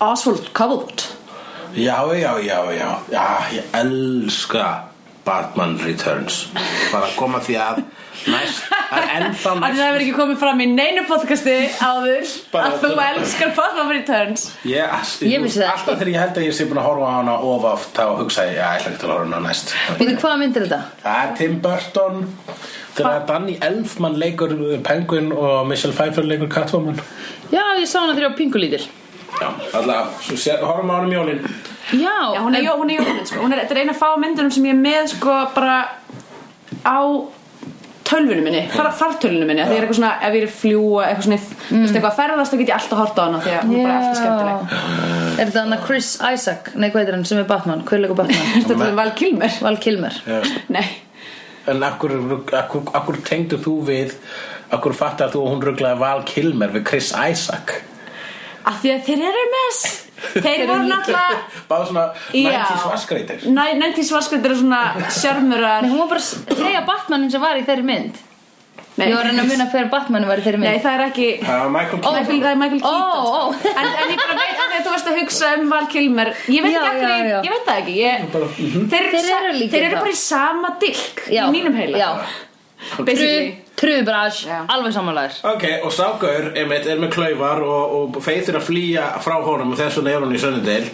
S3: Oswald Cobblepot
S4: já, já, já, já, já ég elska Batman Returns bara að koma því að næst, það er ennþá
S3: Þannig að það
S4: næst
S3: hefur ekki komið fram í neinu podcasti áður
S4: Bara
S3: að þú
S4: þetta.
S3: elskar Batman Returns
S4: Ég,
S1: Ég vissi það
S4: Alltaf
S1: ekki.
S4: þegar ég held að ég sé búin að horfa á hana ofaft þá hugsa ég, já, ég ætla ekki til að horfa á hana næst
S1: Býtu, hvaða myndir þetta?
S4: Það er Tim Burton þegar Danny Elfman leikur uh, Penguin og Michelle Pfeiffer leikur Catwoman
S1: Já, ég sá hana þegar ég á pingulítil
S4: Já, alltaf, svo sé- horfum á hana um jólin
S1: Já,
S3: Já, hún er,
S1: en-
S3: jó, hún er, jó, sko. hún er, þetta er eina fá myndunum sem ég er með sko bara á tölvunum minni, far, fartölvunum minni því ég er eitthvað svona, ef ég er að fljúa eitthvað svona, mm. veist eitthvað að ferðast, þá get ég alltaf hort á hana því að hún er bara alltaf skemmtileg
S1: Er þetta hann að Chris Isaac, nei hvað heitir hann sem er Batman, hver leikur Batman?
S3: Þetta er bara vel kilmer
S1: Val Kilmer
S3: Nei,
S4: En akkur, akkur, akkur tengdu þú við Akkur fattar þú að hún rugglaði Val Kilmer við Chris Isaac
S3: af því að þeir eru mess Þeir voru náttúrulega
S4: Báðu svona
S3: Já.
S4: 90s vaskreitir
S3: Næ- 90s vaskvöldur eru svona sjarmurar
S1: Nei, hún var bara að segja Batmanin sem var í þeirri mynd
S3: Nei.
S1: Ég var að reyna að muna hver Batmanin var í þeirri
S3: Nei,
S1: mynd
S3: það er ekki
S4: Það var Michael
S1: Ó.
S4: Keaton
S3: Michael, það er Michael
S1: Ó,
S3: Keaton
S1: ó.
S3: sko. en, en ég bara veit að því að þú varst að hugsa um Val Kilmer Ég veit
S1: Já,
S3: ekki
S1: já,
S3: ekki,
S1: já.
S3: ég veit það ekki ég,
S4: mhm.
S3: þeir,
S1: Þeir
S3: sa-
S1: eru líkir
S3: þeir eru
S1: þá.
S3: bara í sama dilk
S1: Já.
S3: Í mínum heila
S1: Já. Tru,
S3: Basically
S1: Trubras,
S3: Já.
S1: alveg samanlæður
S4: Ok, og ságaur einmitt, er með klauvar og, og feitir að flýja frá honum og þess vegna er hún í sönnudel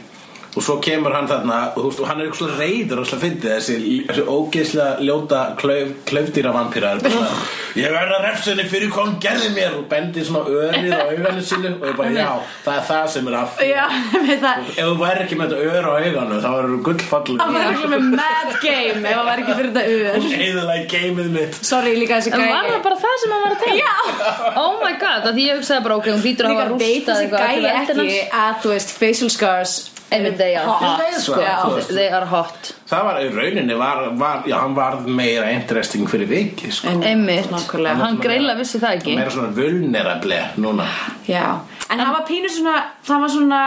S4: og svo kemur hann þarna og, þú veist, og hann er eitthvað reyður og slá fyndið þessi, þessi ógeðslega ljóta klauf, klaufdýra vampýrar ég verð að refsunni fyrir hvað hún gerði mér og bendir svona örið á augunni sínu og ég bara já, það er það sem er að því."
S3: Já, ég veit það
S4: ef þú væri ekki með þetta ör á augunni þá er þú
S3: Það
S4: gullfallur
S3: var ekki með mad game Ef það var ekki fyrir þetta ur
S4: eðalega geimið mitt
S3: Sorry líka þessi
S1: En
S3: gæi
S1: var það bara það sem hann var að tala?
S3: Já
S1: Oh my god, að því ég hugsaði bara ok, hún hlýtur að
S3: Líka
S1: hafa rústað til
S3: veit þessi gæi
S1: eldinans.
S3: ekki að þú veist facial scars
S1: Einmitt, they are
S3: Hot.
S1: hot,
S4: Nei,
S1: sko.
S4: sko, þú
S1: Já,
S4: veist.
S1: They are hot
S4: það var í rauninni var, var, já, hann varð meira interesting fyrir viki sko.
S1: Einmitt,
S3: nákvæmlega.
S1: hann greila vissi það ekki
S4: meira svona vulnerable núna
S3: Já, en það var pínu svona það var svona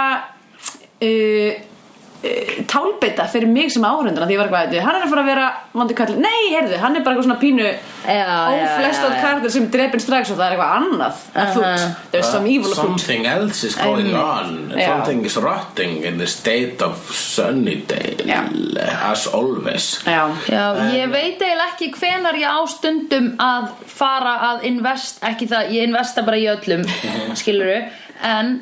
S3: uh, uh, tálbeita fyrir mig sem áhundana því ég var eitthvað að hann er að fara að vera vondi kallið, nei, heyrðu, hann er bara eitthvað svona pínu
S1: já,
S3: óflestátt
S1: já, já.
S3: karakter sem drepin strax og það er eitthvað annað að
S1: Aha.
S3: fút, there's some evil að fút
S4: Something else is going on and
S3: já.
S4: Something is rotting in the state of Sunnydale
S3: Já.
S4: As always
S3: Já,
S1: Já, ég veit eiginlega ekki hvenar ég á stundum að fara að invest, ekki það, ég investa bara í öllum, skiluru, en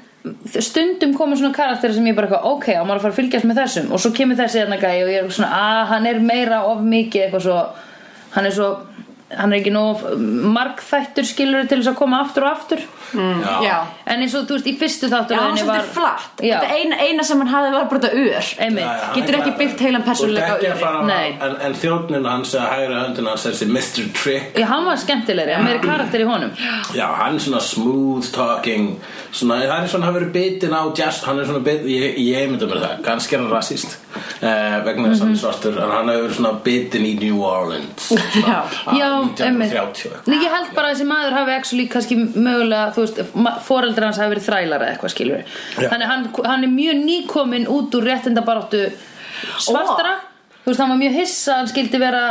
S1: stundum koma svona karakter sem ég bara eitthvað, ok, á maður að fara að fylgjast með þessum og svo kemur þessi hérna gæi og ég er eitthvað svona, að hann er meira of mikið eitthvað svo, hann er svo, hann er ekki nóg margþættur skiluru til þess að koma aftur og aftur.
S3: já, já.
S1: En eins og þú veist, í fyrstu
S3: Mm. Já, hann
S1: þátturöðinni
S3: svolítið
S1: var...
S3: var... flatt
S1: Já.
S3: Þetta eina, eina sem hann hafði var bara þetta ör
S1: Einmitt.
S3: Getur ekki byggt heilan persónuleika á
S4: á
S3: öðru.
S4: öðru
S1: Nei.
S4: En, en þjóðnin hans eða hægri höndin hans þessi Mr. Trick
S1: Já, hann var skemmtilegri, hann meiri karakter í honum.
S4: Já, hann er svona smooth talking svona, Það er svona, hann verið bitin á just, Hann er svona bitin, ég, ég myndi mér það Kannski er hann rasist eh, Vegna þess að
S3: Mhm.
S4: hann er svartur En hann hefur verið svona bitin í New Orleans svona,
S3: Já.
S4: að
S1: Já, einmitt.
S4: 1930 eitthvað.
S1: Nei, ég held bara að þessi maður hafi actually kannski mögulega, þú veist, foreldrar hans hafi verið þrælar eða eitthvað skilur
S4: Já.
S1: Þannig að hann, hann er mjög nýkominn út úr réttindabaráttu svartra Þú veist, hann var mjög hissa, hann skildi vera,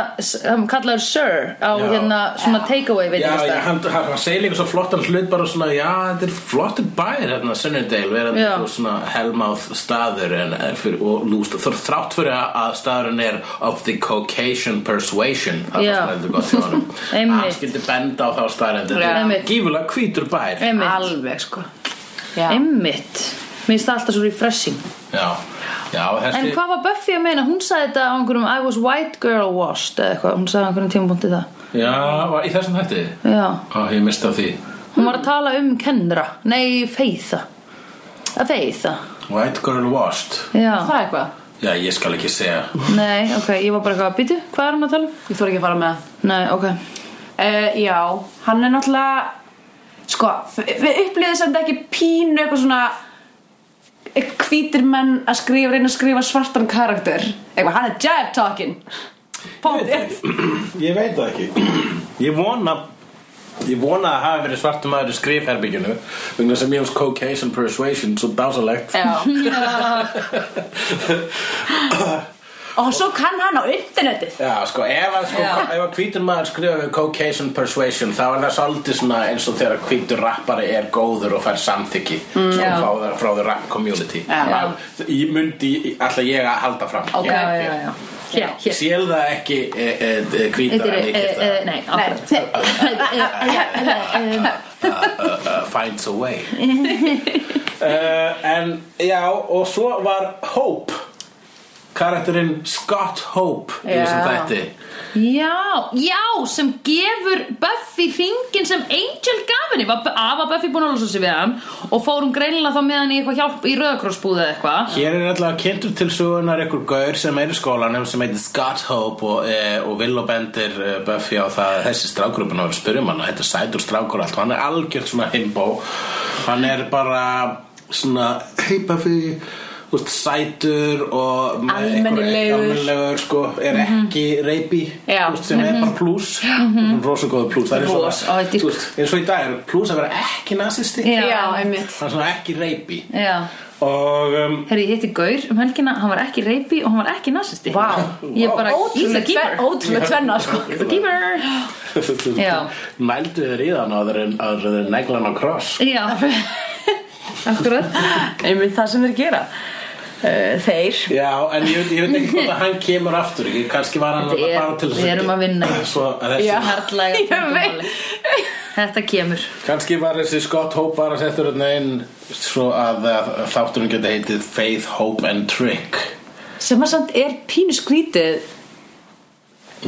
S1: hann kallaður sir á
S4: Já.
S1: hérna svona takeaway
S4: Já, já,
S1: veitingastæð
S4: hann, hann, hann segir líka svo flottan hlut bara svona, já, þetta er flottur bær hérna, Sunnydale, verðan
S1: Já.
S4: eitthvað svona hellmáð staður en, eh, fyrir, og lúst, þó þrátt fyrir að að staðurinn er of the Caucasian persuasion það
S1: Já.
S4: var svona heldur gott hjá honum Að
S1: Einmitt.
S4: hann skildi benda á þá staðurinn þetta
S1: Einmitt.
S4: er gífulega hvítur bær
S1: Einmitt,
S3: Alveg sko Já.
S1: einmitt Mér finnst það alltaf svo refreshing
S4: já, já,
S1: En
S4: þessi
S1: hvað var Buffy að meina? Hún sagði þetta á einhverjum I was white girl washed eða eitthvað Hún sagði á einhverjum tímapunkti það
S4: já, var í þessum hætti
S1: Já,
S4: Ó, ég misti á því
S1: hún var að tala um kendra Nei, feiða Að feiða
S4: White girl washed
S1: Já,
S3: Það er eitthvað
S4: já, ég skal ekki segja
S1: nei, ok, ég var bara eitthvað að býtu, hvað er hann að tala? um?
S3: Ég þóra ekki að fara með það
S1: Nei, ok,
S3: Uh, já, hann er náttúrulega sko, við upplýðum sem þetta ekki pínu eitthvað svona eh, hvítir menn að skrifa reyna að skrifa svartan karakter eitthvað, hann er jive talking Póndið
S4: Ég veit það ekki Ég vona Ég vona að hafa verið svartum maður í skrifherbygginu vegna sem ég hefst Caucasian Persuasion svo dásalegt
S3: Já,
S4: en
S3: og svo kann hann á internetið
S4: Já, sko, ef að, sko,
S1: Já.
S4: ef að hvítur maður skrifa við Caucasian Persuasion þá er það svolítið svona eins og þegar hvítur rappari er góður og fær samþykki sko,
S1: Mm, Já.
S4: frá, frá the rap community
S3: Já.
S4: Það- Ég myndi alltaf ég að halda fram
S1: Ok, já, já,
S4: Ég-
S1: já Hér,
S4: Ég
S1: hér
S4: sél það ekki e, e, e, hvítar en ég
S1: Eh,
S4: get það
S1: eh, Nei, akkurat
S4: uh, finds a way uh, En já, og svo var Hope karakterinn Scott Hope í þessum
S3: Já.
S4: þætti
S1: Já, já, sem gefur Buffy hringin sem Angel gaf henni Var- A var Buffy búin að losa sig við hann og fór hún greinilega þá með hann í eitthvað hjálp í rauðakrossbúðu eða eitthvað
S4: Hér er allavega kynntur til sögunar einhver gaur sem er í skólanum sem heitir Scott Hope og, e, og Willow bendir e, Buffy á það að þessi strákurupin á að spyrja um hann þetta er sætur strákur og allt og hann er algjört svona himbo hann er bara svona hey Buffy þú veist, sætur og með einhverju-
S3: Almennilegur.
S4: almennilegur sko, er ekki reypi
S3: Já.
S4: þú veist, sem er bara plús mm -hmm. rosa góður plús það er eins og-
S1: Ros, á, ég dýrka.
S4: þú veist, eins og í dag er plús að vera ekki nazisti
S1: Já.
S3: já, einmitt
S4: hann er svona ekki reypi
S1: Já,
S4: og um,
S1: herri, ég hitti Gaur um helgina, hann var ekki reypi og hann var ekki nazisti
S3: Vá.
S1: Ég bara, he's a
S3: ótrúlega
S1: keeper
S3: tvenna, ótrúlega tvenna sko.
S1: He's a keeper Já.
S4: Mældu þér í þann áður en áður en neglan á kross
S1: Já, akkurat
S3: einmitt það sem þeir gera uh, þeir
S4: Já, en ég, veit- ég veit ekki hvort að hann kemur aftur ekki, kannski var hann
S1: Þetta er-
S4: bara til þess
S1: við erum að vinna í þessu.
S4: Svo að þessi,
S3: Já.
S1: Karlæga
S3: Ég
S1: tungumáli. Þetta kemur
S4: Kannski var þessi Scott Hope bara settur hann inn svo að, að þátturinn geti heitið Faith, Hope and Trick
S3: sem að samt er pínu skrítið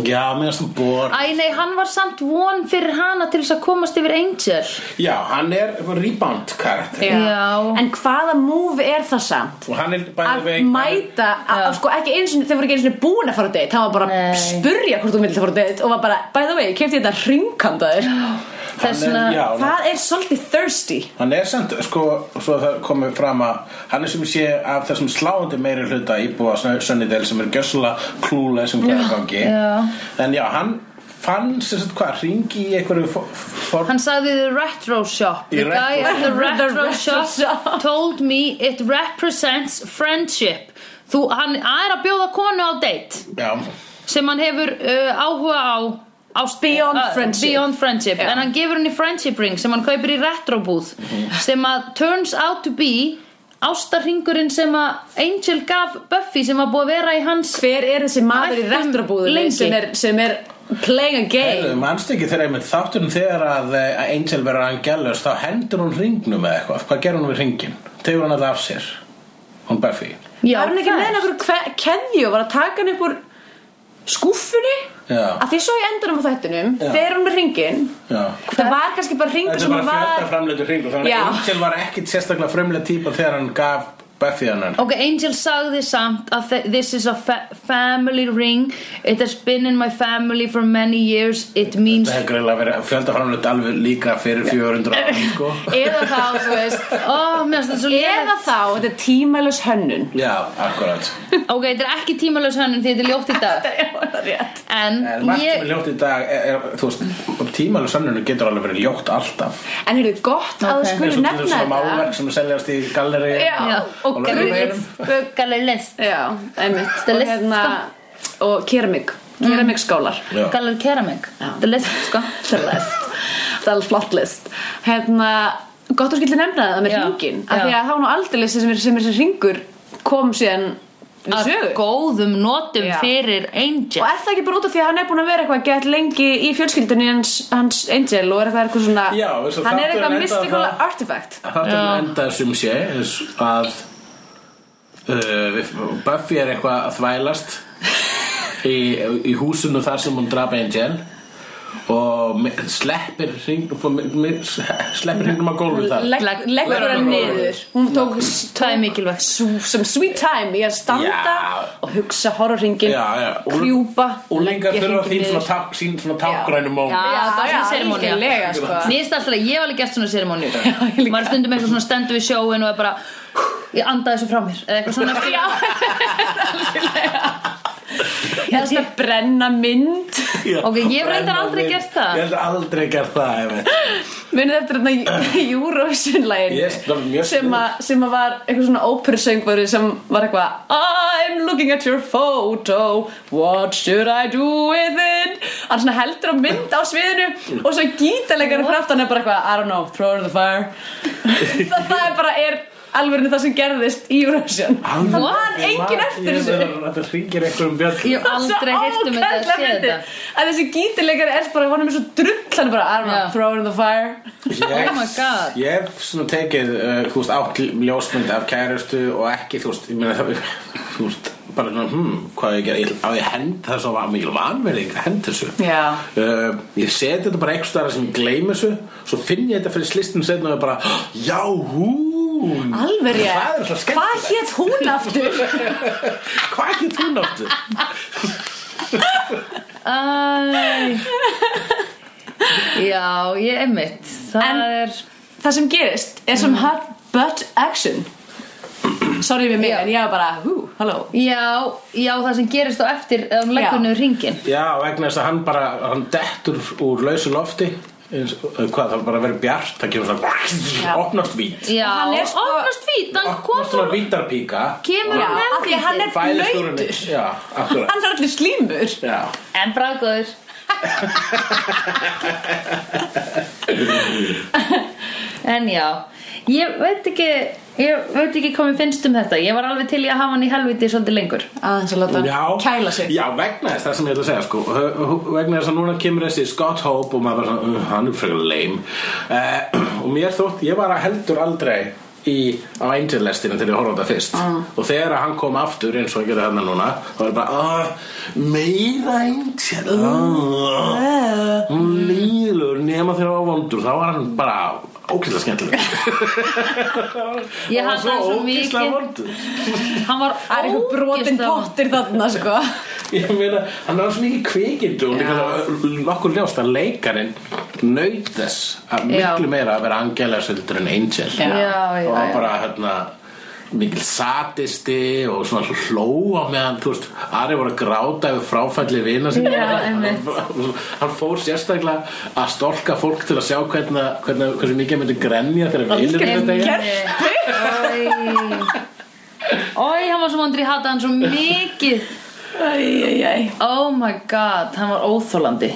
S4: Já, mér finnst þú bor
S1: Æ, nei, hann var samt von fyrir hana til þess að komast yfir Angel
S4: Já, hann er rebound karakter
S1: Já.
S3: en hvaða move er það samt
S4: Og hann er
S3: að
S4: bæði veik
S3: mæta að, sko, ekki eins og þau voru ekki eins og búin að fara á date það var bara
S1: Nei.
S3: að spurja hvort þú myndir að fara á date og var bara, by the way, kefti þetta hringkandaður
S4: Hann
S1: Þess vegna
S4: er, já,
S3: það er svolítið thirsty
S4: Hann er samt, sko, svo það komið fram að hann er sem sé af þessum sláandi meiri hluta íbúa Sunnydale sem er gjössalega klúlega sem hvað er í gangi
S1: já.
S4: En já, hann fann sem sagt hvað, ringi í einhverju for, for,
S1: Hann sagði the retro shop
S4: Í
S1: The guy
S4: retro
S1: at the
S3: shop.
S1: retro,
S3: The retro
S1: shop,
S3: shop.
S1: told me it represents friendship Þú, hann hann er að bjóða konu á date
S4: Já,
S1: sem hann hefur uh, áhuga á, á
S3: Beyond
S1: uh,
S3: friendship.
S1: beyond friendship.
S3: Já.
S1: en hann gefur henni friendship ring sem hann kaupir í retrobúð sem að turns out to be ástarringurinn sem að Angel gaf Buffy sem var búið að vera í hans
S3: hver er þessi maður í
S1: Ættum
S3: retrobúðinni
S1: lengi.
S3: sem er, sem er playing a
S4: Heyrðu,
S3: game
S4: manstu ekki þegar einmitt þátturinn þegar að eh, að Angel verður angelus þá hendur hún ringnum eða eitthvað Hvað gerir hún við ringin? Tegur hann alltaf af sér Hún Buffy
S1: Já,
S3: var hann ekki
S1: það
S3: með
S1: er-
S3: einhver keðju og var að taka hann upp úr skúffunni
S4: Já.
S3: að því svo í endanum á þættinum
S4: Já.
S3: þegar hún er hringin
S4: Já
S3: það var kannski bara hringur
S4: Þetta er
S3: sem
S4: bara fjölda
S3: var
S4: framleitur ringur Þannig
S3: Já.
S4: að Angel var ekkit sérstaklega frumlega típa þegar hann gaf Buffy hann
S1: Ok, Angel sagði samt að þe- this is a fa family ring It has been in my family for many years It means
S4: Það hefur greinlega verið fjöldaframlut alveg líka fyrir 400 ára sko.
S3: eða þá, þú veist
S1: Oh, mér finnst þetta svo
S3: eða
S1: lélega
S3: þá, þetta er tímælus hönnun
S4: Já, akkurat
S1: Ok, þetta er ekki tímalös hönnun því þetta er ljótt í dag En
S4: En margt sem
S1: ég
S4: er ljótt í dag er, er, Þú veist, tímalega sönnunum getur alveg verið ljótt alltaf
S3: en heyrðu, gott að
S1: Ok.
S3: þú
S4: Eins
S3: skulur
S4: og til
S3: nefna
S4: þessum
S3: þetta
S4: málverk sem seljast í galleri
S3: Já, og
S4: og laugaveginum.
S1: Buggaleg list
S3: já, einmitt
S1: The
S3: og
S1: list, Mm.
S3: hérna, og keramik keramik skálar
S4: Já.
S1: Buggaleg keramik
S3: Já.
S1: The list, sko
S3: það er alveg flott list hérna, gott að þú skulur nefna það með
S1: Já.
S3: hringin af
S1: Já.
S3: því að þá nú aldrei sem er sem er sem hringur kom síðan við
S1: Að
S3: sögu
S1: góðum notum
S3: Já.
S1: fyrir Angel
S3: Og er það ekki bara út af því að hann er búin að vera eitthvað gett lengi í fjölskyldunni hans, hans Angel og er eitthvað eitthvað svona
S4: Já, eins og
S3: hann er
S4: þátturinn
S3: eitthvað
S4: endaði
S3: mystical
S4: það-
S3: artifact
S4: Þetta
S1: Já.
S4: er enda sem sé þess að uh, við- Buffy er eitthvað að þvælast í, í húsinu þar sem hún drap Angel og mi- sleppir hring, mi- sleppir hringnum á gólfið þar
S1: Legg-
S3: Legg- leggur hann
S4: Leggur
S3: niður hún tók s-
S1: Það er
S3: tók
S1: mikilvægt.
S3: sú- sem sweet time í að standa
S4: Já.
S3: og hugsa horrorringin
S4: Já, já. Og-
S3: krjúpa
S4: og lengar
S3: leggja
S4: þurfa þín
S3: hringinn
S4: svona,
S3: niður.
S4: tak, sín svona tákgrænu móm
S1: Já, það var svona seremónía.
S3: algjörlega, sko.
S1: Mér finnst alltaf að ég hef alveg gert svona seremóni
S3: ég líka.
S1: Maður stundum eitthvað svona stendur við sjóin og er bara Ég anda þessu frá mér Eða eitthvað svona
S3: Já, Ég held að brenna mynd
S4: Já,
S1: Ok, ég hef reyndar
S4: brenna
S1: aldrei
S4: mig.
S1: gert það.
S4: Ég hef aldrei gert það, ef veit
S3: Munið eftir þarna Eurovision-lægin
S4: Yes, það var mjög
S3: sem, að- sem að var eitthvað svona óperusöngvari sem var eitthvað I'm looking at your photo What should I do with it? Hann svona heldur á mynd á sviðinu og svo gítalegari fyrir aftan er bara eitthvað I don't know, throw her in the fire það, það er bara er alveg það sem gerðist í Eurovision Það man engin eftir þessu
S4: Þetta hringir einhverjum um björn
S1: Ég hef aldrei heyrt um þetta að sé þetta
S3: að þessi gítileikari er bara hann er með svo drull hann er bara I don't know,
S1: Já.
S3: throw it in the fire
S1: Oh my god.
S4: Ég hef svona tekið uh, þú veist, átt ljósmynd af kærustu og ekki, þú veist, ég meina það þú veist, bara, svona, hmm, hvað á ég að gera ég, á ég hend það er svo var mikil vanverðing að hend þessu
S3: Já.
S4: uh, ég seti þetta bara eitthvað staðar sem ég gleym þessu svo finn ég þetta fyrir slistum setna og ég bara, já, hún
S3: alveg rétt
S4: Það er svo skemmtilegt.
S3: hvað hétt hún aftur
S4: hvað ekki þú náttu?
S1: Æ Já, ég er mitt Það
S3: En-
S1: er
S3: það sem gerist er sem hot butt action sorry við mig
S1: Já.
S3: en ég var bara hú, halló
S1: Já, já, það sem gerist á eftir ef hún leggur
S3: Já.
S1: niður ringin
S4: já, vegna þess að hann bara hann dettur úr lausu lofti eins, uh, hvað, það bara verið bjart það kemur
S3: Já.
S4: svona, opnast vít
S1: Já,
S3: Og hann er sko-
S1: opnast vít Hann kom
S4: opnast svona vítarpíka
S1: kemur
S3: Já,
S1: hann
S3: af því að hann er
S4: Fæðist úr
S3: blöytur.
S4: henni. Já, akkurat
S3: hann er allir slímur
S4: Já,
S1: En bráðgóður En já Ég veit ekki Ég veit ekki hvað mér finnst um þetta Ég var alveg til í að hafa hann í helviti svolítið lengur
S3: aðeins að láta
S4: já
S3: hann kæla sig
S4: Já, vegna þess það sem ég ætla að segja sko Hö- hö- Vegna þess að núna kemur þessi Scott Hope Og maður bara svona, uh, hann er frekar lame uh, Og mér þótt, ég var að heldur aldrei Í, á Angel-lestinu Þegar ég horfði á þetta fyrst Og þegar hann kom aftur eins og ég gerði þarna núna Þá var ég bara, ah, meira Angel ah, Hún líður nema þegar hann var vondur Þá var hann bara ókvæslega skemmtileg
S1: Ég hafði
S4: Hann var
S1: hann svo
S4: ógeðslega
S1: mikið-
S4: vondur
S1: Hann var
S3: það er eitthvað brotin
S1: ógeðslega-
S3: pottir þarna sko
S4: Ég meina, hann var svo mikið kvikindu og líka það- nokkur ljóst að leikarinn naut þess að
S1: Já.
S4: miklu meira að vera Angelas heldur en Angel
S3: Já.
S1: Já, já,
S4: og
S1: já.
S4: var bara hérna mikil satisti og svona hlóa meðan, þú veist, Ari var að gráta yfir fráfælli vina sinni
S1: Já,
S4: hann,
S1: einmitt.
S4: hann fór sérstaklega að stolka fólk til að sjá hvernig, hvernig hversu mikið myndi grenja þegar vinir
S1: Ég
S4: þeirra deyja.
S1: gerði Ói, hann var svo vondur Ég hata hann svo mikið
S3: æjæjæj
S1: Oh my god, hann var óþólandi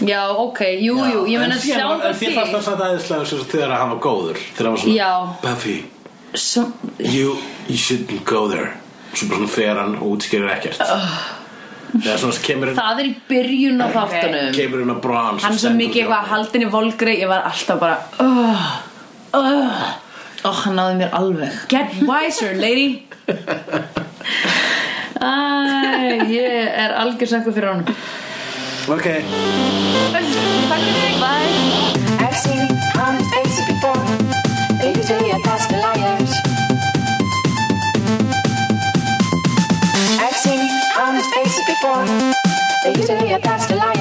S1: Já, ok, jú, jú Ég meina
S4: En síðan var-
S1: sjálfur
S4: en Þér fannst það satt aðeinslega þegar hann var góður þegar hann var svona
S1: Já.
S4: Buffy
S1: Svo-
S4: you, you shouldn't go there Svo bara svona fer hann og útskýrir ekkert
S3: Ah.
S4: Eða svona kemur hann
S1: Það er í byrjun á þáttunum
S4: Kemur hann að bronze
S3: um- hann er svo mikið eitthvað haldin í volgri ég var alltaf bara uh, uh,
S1: Ó, Oh, hann náði mér alveg
S3: get wiser lady
S1: Æ, ég er algjörsakku fyrir honum
S4: Ok
S3: takk fyrir bye
S5: I've seen honest faces before. They usually are past the liars. I've seen honest faces before. They usually are past the liars.